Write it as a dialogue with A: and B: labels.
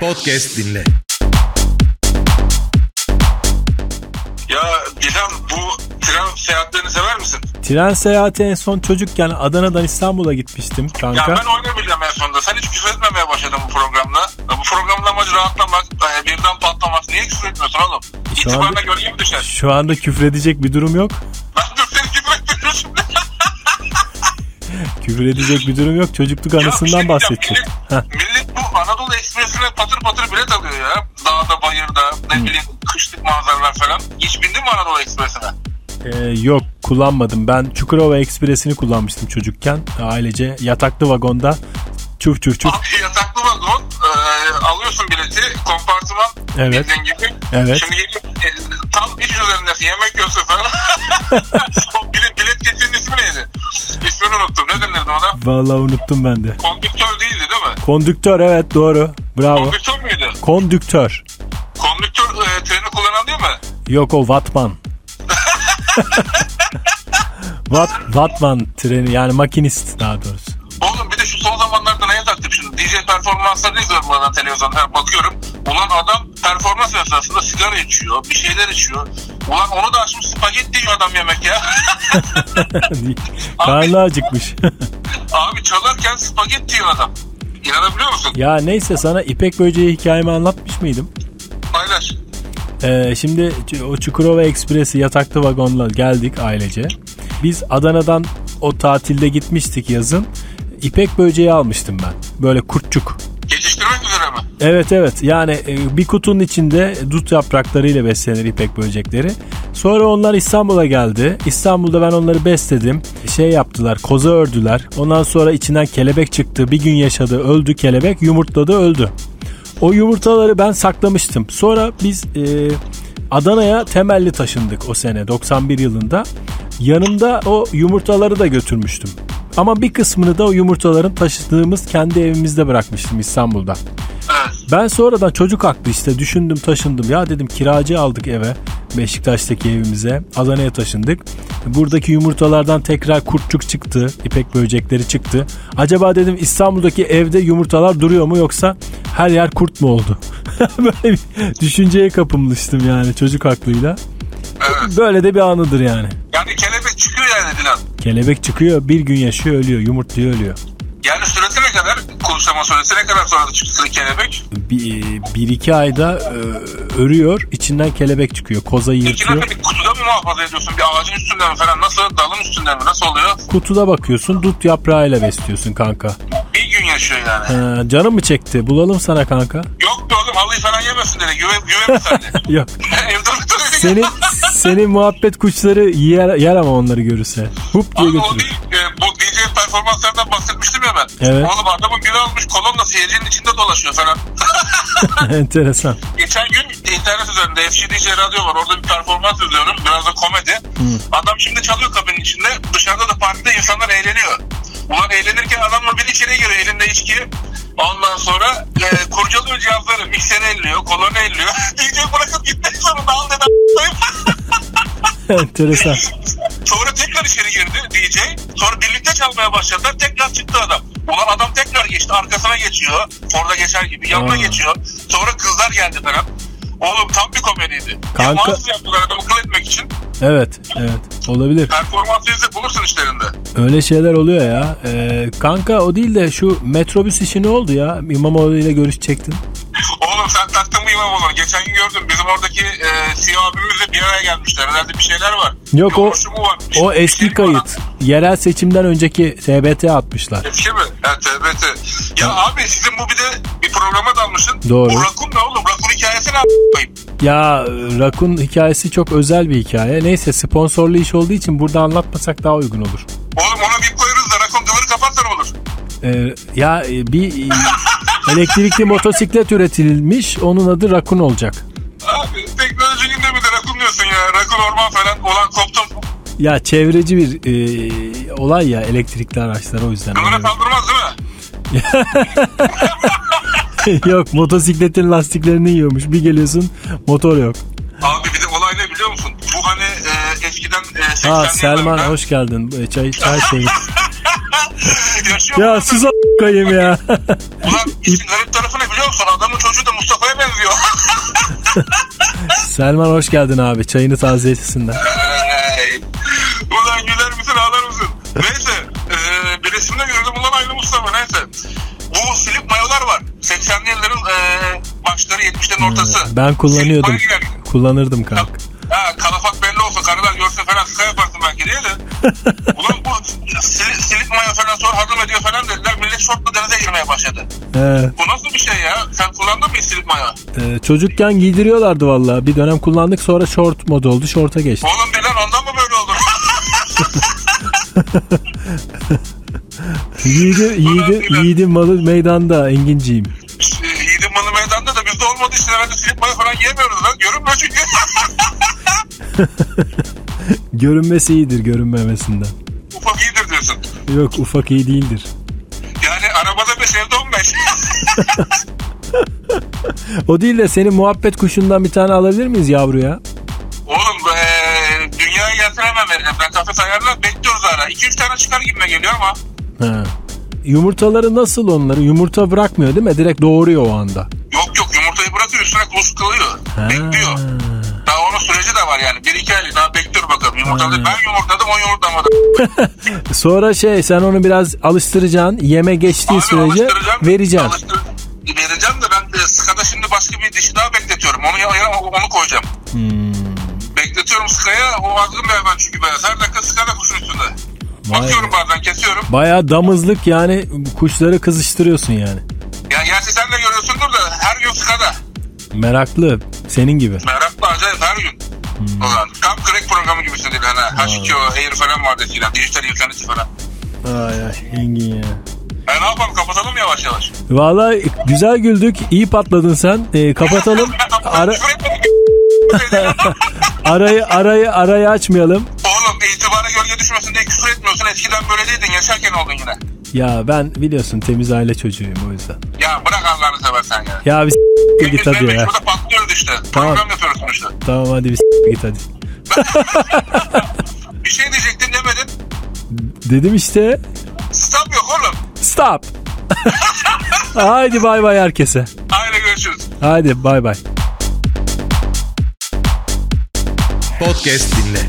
A: Podcast dinle.
B: Ya Bilal bu tren seyahatlerini sever misin?
C: Tren seyahati en son çocukken Adana'dan İstanbul'a gitmiştim
B: Ya
C: kanka.
B: ben oynayabileceğim en sonunda. Sen hiç küfür etmemeye başladın bu programla. Ya bu programın amacı rahatlamak, e, birden patlamak. Niye küfür etmiyorsun oğlum? İtibarına
C: anda-
B: gölge mi düşer?
C: Şu anda küfredecek bir durum yok.
B: Ben dur seni küfür etmiyorum şimdi.
C: Küfredecek bir durum yok. Çocukluk
B: Ya bir şey
C: anısından
B: diyeceğim,
C: bahsedecek. Heh.
B: Millet, millet bu Anadolu Ekspresi'ne patır patır bilet alıyor ya. Dağda, bayırda, ne bileyim kışlık manzaralar falan. Hiç bindin mi Anadolu Ekspresi'ne?
C: Ee, yok kullanmadım. Ben Çukurova Ekspresi'ni kullanmıştım çocukken. Ailece yataklı vagonda çuf çuf çuf.
B: Abi yataklı vagon e, alıyorsun bileti kompartıman
C: Evet.
B: bildiğin gibi.
C: Evet.
B: Şimdi e, tam iş üzerindesin yemek yiyorsun falan. o bilet, bilet geçinin ismi neydi? İsmini unuttum ne denirdi ona?
C: Vallahi unuttum ben de.
B: Kondüktör değildi değil mi?
C: Kondüktör evet doğru. Bravo.
B: Kondüktör müydü?
C: Kondüktör.
B: Kondüktör e, treni kullanan değil mi?
C: Yok o Vatman. Vat, Vatman treni yani makinist daha doğrusu.
B: Oğlum bir de şu son zamanlarda neye taktık şimdi? DJ performanslarını izliyorum bazen televizyonda bakıyorum. Ulan adam performans esnasında sigara içiyor, bir şeyler içiyor. Ulan onu da açmış spagetti yiyor adam yemek ya.
C: Karnı acıkmış.
B: Abi çalarken spagetti yiyor adam. İnanabiliyor musun?
C: ya neyse sana İpek Böceği hikayemi anlatmış mıydım?
B: Paylaş.
C: Ee, şimdi ç- o Çukurova Ekspresi yataklı vagonla geldik ailece. Biz Adana'dan o tatilde gitmiştik yazın. İpek Böceği almıştım ben. Böyle kurtçuk.
B: Geçiştirmek üzere mi?
C: Evet evet yani e, bir kutunun içinde dut yapraklarıyla beslenir ipek böcekleri. Sonra onlar İstanbul'a geldi. İstanbul'da ben onları besledim. Şey yaptılar koza ördüler. Ondan sonra içinden kelebek çıktı. Bir gün yaşadı öldü kelebek yumurtladı öldü. O yumurtaları ben saklamıştım. Sonra biz e, Adana'ya temelli taşındık o sene 91 yılında. Yanımda o yumurtaları da götürmüştüm. Ama bir kısmını da o yumurtaların taşıdığımız kendi evimizde bırakmıştım İstanbul'da.
B: Evet.
C: Ben sonradan çocuk haklı işte düşündüm taşındım. Ya dedim kiracı aldık eve Beşiktaş'taki evimize Adana'ya taşındık. Buradaki yumurtalardan tekrar kurtçuk çıktı. ipek böcekleri çıktı. Acaba dedim İstanbul'daki evde yumurtalar duruyor mu yoksa her yer kurt mu oldu? Böyle bir düşünceye kapılmıştım yani çocuk aklıyla.
B: Evet.
C: Böyle de bir anıdır yani.
B: Yani kelebek çıkıyor yani Dilan.
C: Kelebek çıkıyor bir gün yaşıyor ölüyor yumurtluyor ölüyor.
B: Yani süresi ne kadar? Kuluçlama süresi ne kadar sonra da çıktı kelebek?
C: Bir, bir iki ayda e, örüyor içinden kelebek çıkıyor koza
B: İki
C: yırtıyor.
B: dakika bir kutuda mı muhafaza ediyorsun? Bir ağacın üstünde mi falan? Nasıl? Dalın üstünde mi? Nasıl oluyor?
C: Kutuda bakıyorsun dut yaprağıyla besliyorsun kanka.
B: Bir gün yaşıyor yani.
C: Ee, canım mı çekti? Bulalım sana kanka.
B: Yok be oğlum halıyı falan yemesin dedi. Güve, güve mi sen de?
C: Yok.
B: Evde oturuyor.
C: Senin, senin muhabbet kuşları yer, yer ama onları görürse. Hup diye
B: Abi o
C: götürür.
B: değil, e, bu DJ performanslarından bahsetmiştim ya ben.
C: Evet.
B: Oğlum adamın biri almış kolonla seyircinin içinde dolaşıyor falan.
C: Enteresan.
B: Geçen gün internet üzerinde FCDC radyo var. Orada bir performans izliyorum. Biraz da komedi. Adam şimdi çalıyor kabinin içinde. Dışarıda da partide insanlar eğleniyor. Ulan eğlenirken adamla bir içeri giriyor elinde içki. Ondan sonra e, kurcalıyor cihazları. Mikseri elliyor, kolonu elliyor. DJ bırakıp gitmek zorunda. Al dedi a**ayım.
C: Enteresan.
B: Sonra tekrar içeri girdi DJ. Sonra birlikte çalmaya başladılar. Tekrar çıktı adam. Ulan adam tekrar geçti. Arkasına geçiyor. Orada geçer gibi. Yanına
C: Aa.
B: geçiyor. Sonra kızlar geldi falan. Oğlum tam bir komediydi.
C: Kanka-
B: Kanka... yaptılar adamı kıl etmek için.
C: Evet. Evet. Olabilir.
B: Performans izle bulursun işlerinde.
C: Öyle şeyler oluyor ya. Ee, kanka o değil de şu metrobüs işi ne oldu ya? İmamoğlu ile görüşecektin.
B: Oğlum sen taktın mı İmamoğlu'nu? Geçen gün gördüm. Bizim oradaki e, siyah abimizle bir araya gelmişler. Herhalde bir şeyler var.
C: Yok,
B: Bir
C: o-
B: oluşumu var.
C: O
B: Bir şey
C: eski
B: var.
C: kayıt. Yerel seçimden önceki TBT atmışlar.
B: Eski mi? Ha TBT. Ya abi sizin bu bir de bir programa dalmışsın.
C: Doğru.
B: Bu rakun ne oğlum? Rakun hikayesi ne a**? koyayım?
C: Ya Rakun hikayesi çok özel bir hikaye. Neyse sponsorlu iş olduğu için burada anlatmasak daha uygun olur.
B: Oğlum ona bir koyarız da rakun kıvırı kapatsan olur.
C: Ee, ya e, bir e, elektrikli motosiklet üretilmiş. Onun adı Rakun olacak.
B: Abi teknoloji gündemi de rakun diyorsun ya. Rakun orman falan. Ulan koptum.
C: Ya çevreci bir e, olay ya elektrikli araçlar o yüzden.
B: Kıvıra saldırmaz değil mi?
C: yok motosikletin lastiklerini yiyormuş. Bir geliyorsun motor yok.
B: Abi bir de olay ne biliyor musun? Bu hani e, eskiden e, 80'li
C: Ha
B: yıllarda-
C: Selman hoş geldin. E, Çay çay şey.
B: Yaşıyor
C: ya
B: musun?
C: sus a**ayım ya.
B: Ulan işin garip tarafı ne biliyor musun? Adamın çocuğu da
C: Selman hoş geldin abi. Çayını taze etsinler.
B: Ay. Ulan güler misin ağlar mısın? Neyse eee bir resimde gördüm ulan aynı Mustafa neyse. Bu silip mayolar var. 80'li yılların eee başları 70'lerin ortası.
C: Ee, Ben kullanıyordum.
B: Silip mayo giyer.
C: Kullanırdım kanka.
B: Ha, kalafat belli olsa karılar görse falan kısa yaparsın belki diye de. Ulan bu sil, silip mayo falan sonra hazım ediyor falan dediler. Millet şortla denize girmeye başladı.
C: Ee,
B: Bu nasıl bir şey ya? Sen kullandın mı hiç silip mayo?
C: e, çocukken giydiriyorlardı vallahi. Bir dönem kullandık sonra short mod oldu. Short'a geçti.
B: Oğlum bilen ondan mı böyle oldu?
C: Yiğidim, yiğidim, yiğidim malı meydanda Enginciyim.
B: Yiğidim bunu meydanda da bizde olmadı işte. Herhalde silip mayo falan yiyemiyoruz lan. Görünmüyor çünkü.
C: Görünmesi iyidir görünmemesinden.
B: Ufak iyidir diyorsun.
C: Yok ufak iyi değildir.
B: Yani arabada 5 evde 15.
C: O değil de senin muhabbet kuşundan bir tane alabilir miyiz yavruya?
B: Oğlum eee dünyaya gelsin hemen vereceğim. Ben kafes ayarlar bekliyoruz hala. 2-3 tane çıkar gibime geliyor ama.
C: Ha. Yumurtaları nasıl onları? Yumurta bırakmıyor değil mi? Direkt doğuruyor o anda.
B: Yok yok yumurtayı bırakıyor üstüne kuz kalıyor.
C: Ha.
B: Bekliyor. Daha onun süreci de var yani. 1-2 ay daha bekliyor bakalım. Yumurtladı. Ben yumurtladım o yumurtlamadı.
C: Sonra şey sen onu biraz alıştıracaksın. Yeme geçtiği
B: Abi
C: sürece
B: alıştıracağım,
C: vereceksin.
B: alıştır- Vereceğim de ben de sıkada şimdi başka bir dişi daha bekletiyorum. Onu ya- ya- onu koyacağım.
C: Hmm,
B: Bekletiyorum sıkaya. O azgın bir hayvan çünkü beyaz. Her dakika sıkada kuşun üstünde.
C: Vay
B: Bakıyorum bazen kesiyorum.
C: Baya damızlık yani kuşları kızıştırıyorsun yani.
B: Ya gerçi sen de görüyorsundur da her gün sıkada.
C: Meraklı senin gibi.
B: Meraklı acayip her gün.
C: Hmm.
B: O zaman tam crack programı gibi değil hani. H2O, Air falan vardı filan. Dijital interneti falan.
C: Ay ay Engin ya.
B: E ne yapalım kapatalım yavaş yavaş.
C: Valla güzel güldük. iyi patladın sen. Ee, kapatalım. Ara,
B: Küfür etmedik.
C: arayı arayı arayı açmayalım.
B: Oğlum itibara gölge düşmesin diye küfür etmiyorsun. Eskiden böyle değildin. Yaşarken oldun yine.
C: Ya ben biliyorsun temiz aile çocuğuyum o yüzden.
B: Ya bırak Allah'ını seversen ya.
C: Ya biz git
B: Biz
C: hadi ya.
B: Burada patlıyoruz işte.
C: Tamam.
B: Program yapıyoruz sonuçta.
C: Tamam hadi biz git hadi.
B: Bir şey diyecektin demedin.
C: Dedim işte
B: Stop yok oğlum.
C: stop. Haydi bay bay herkese.
B: Aile görüşürüz.
C: Haydi bay bay.
A: Podcast dinle.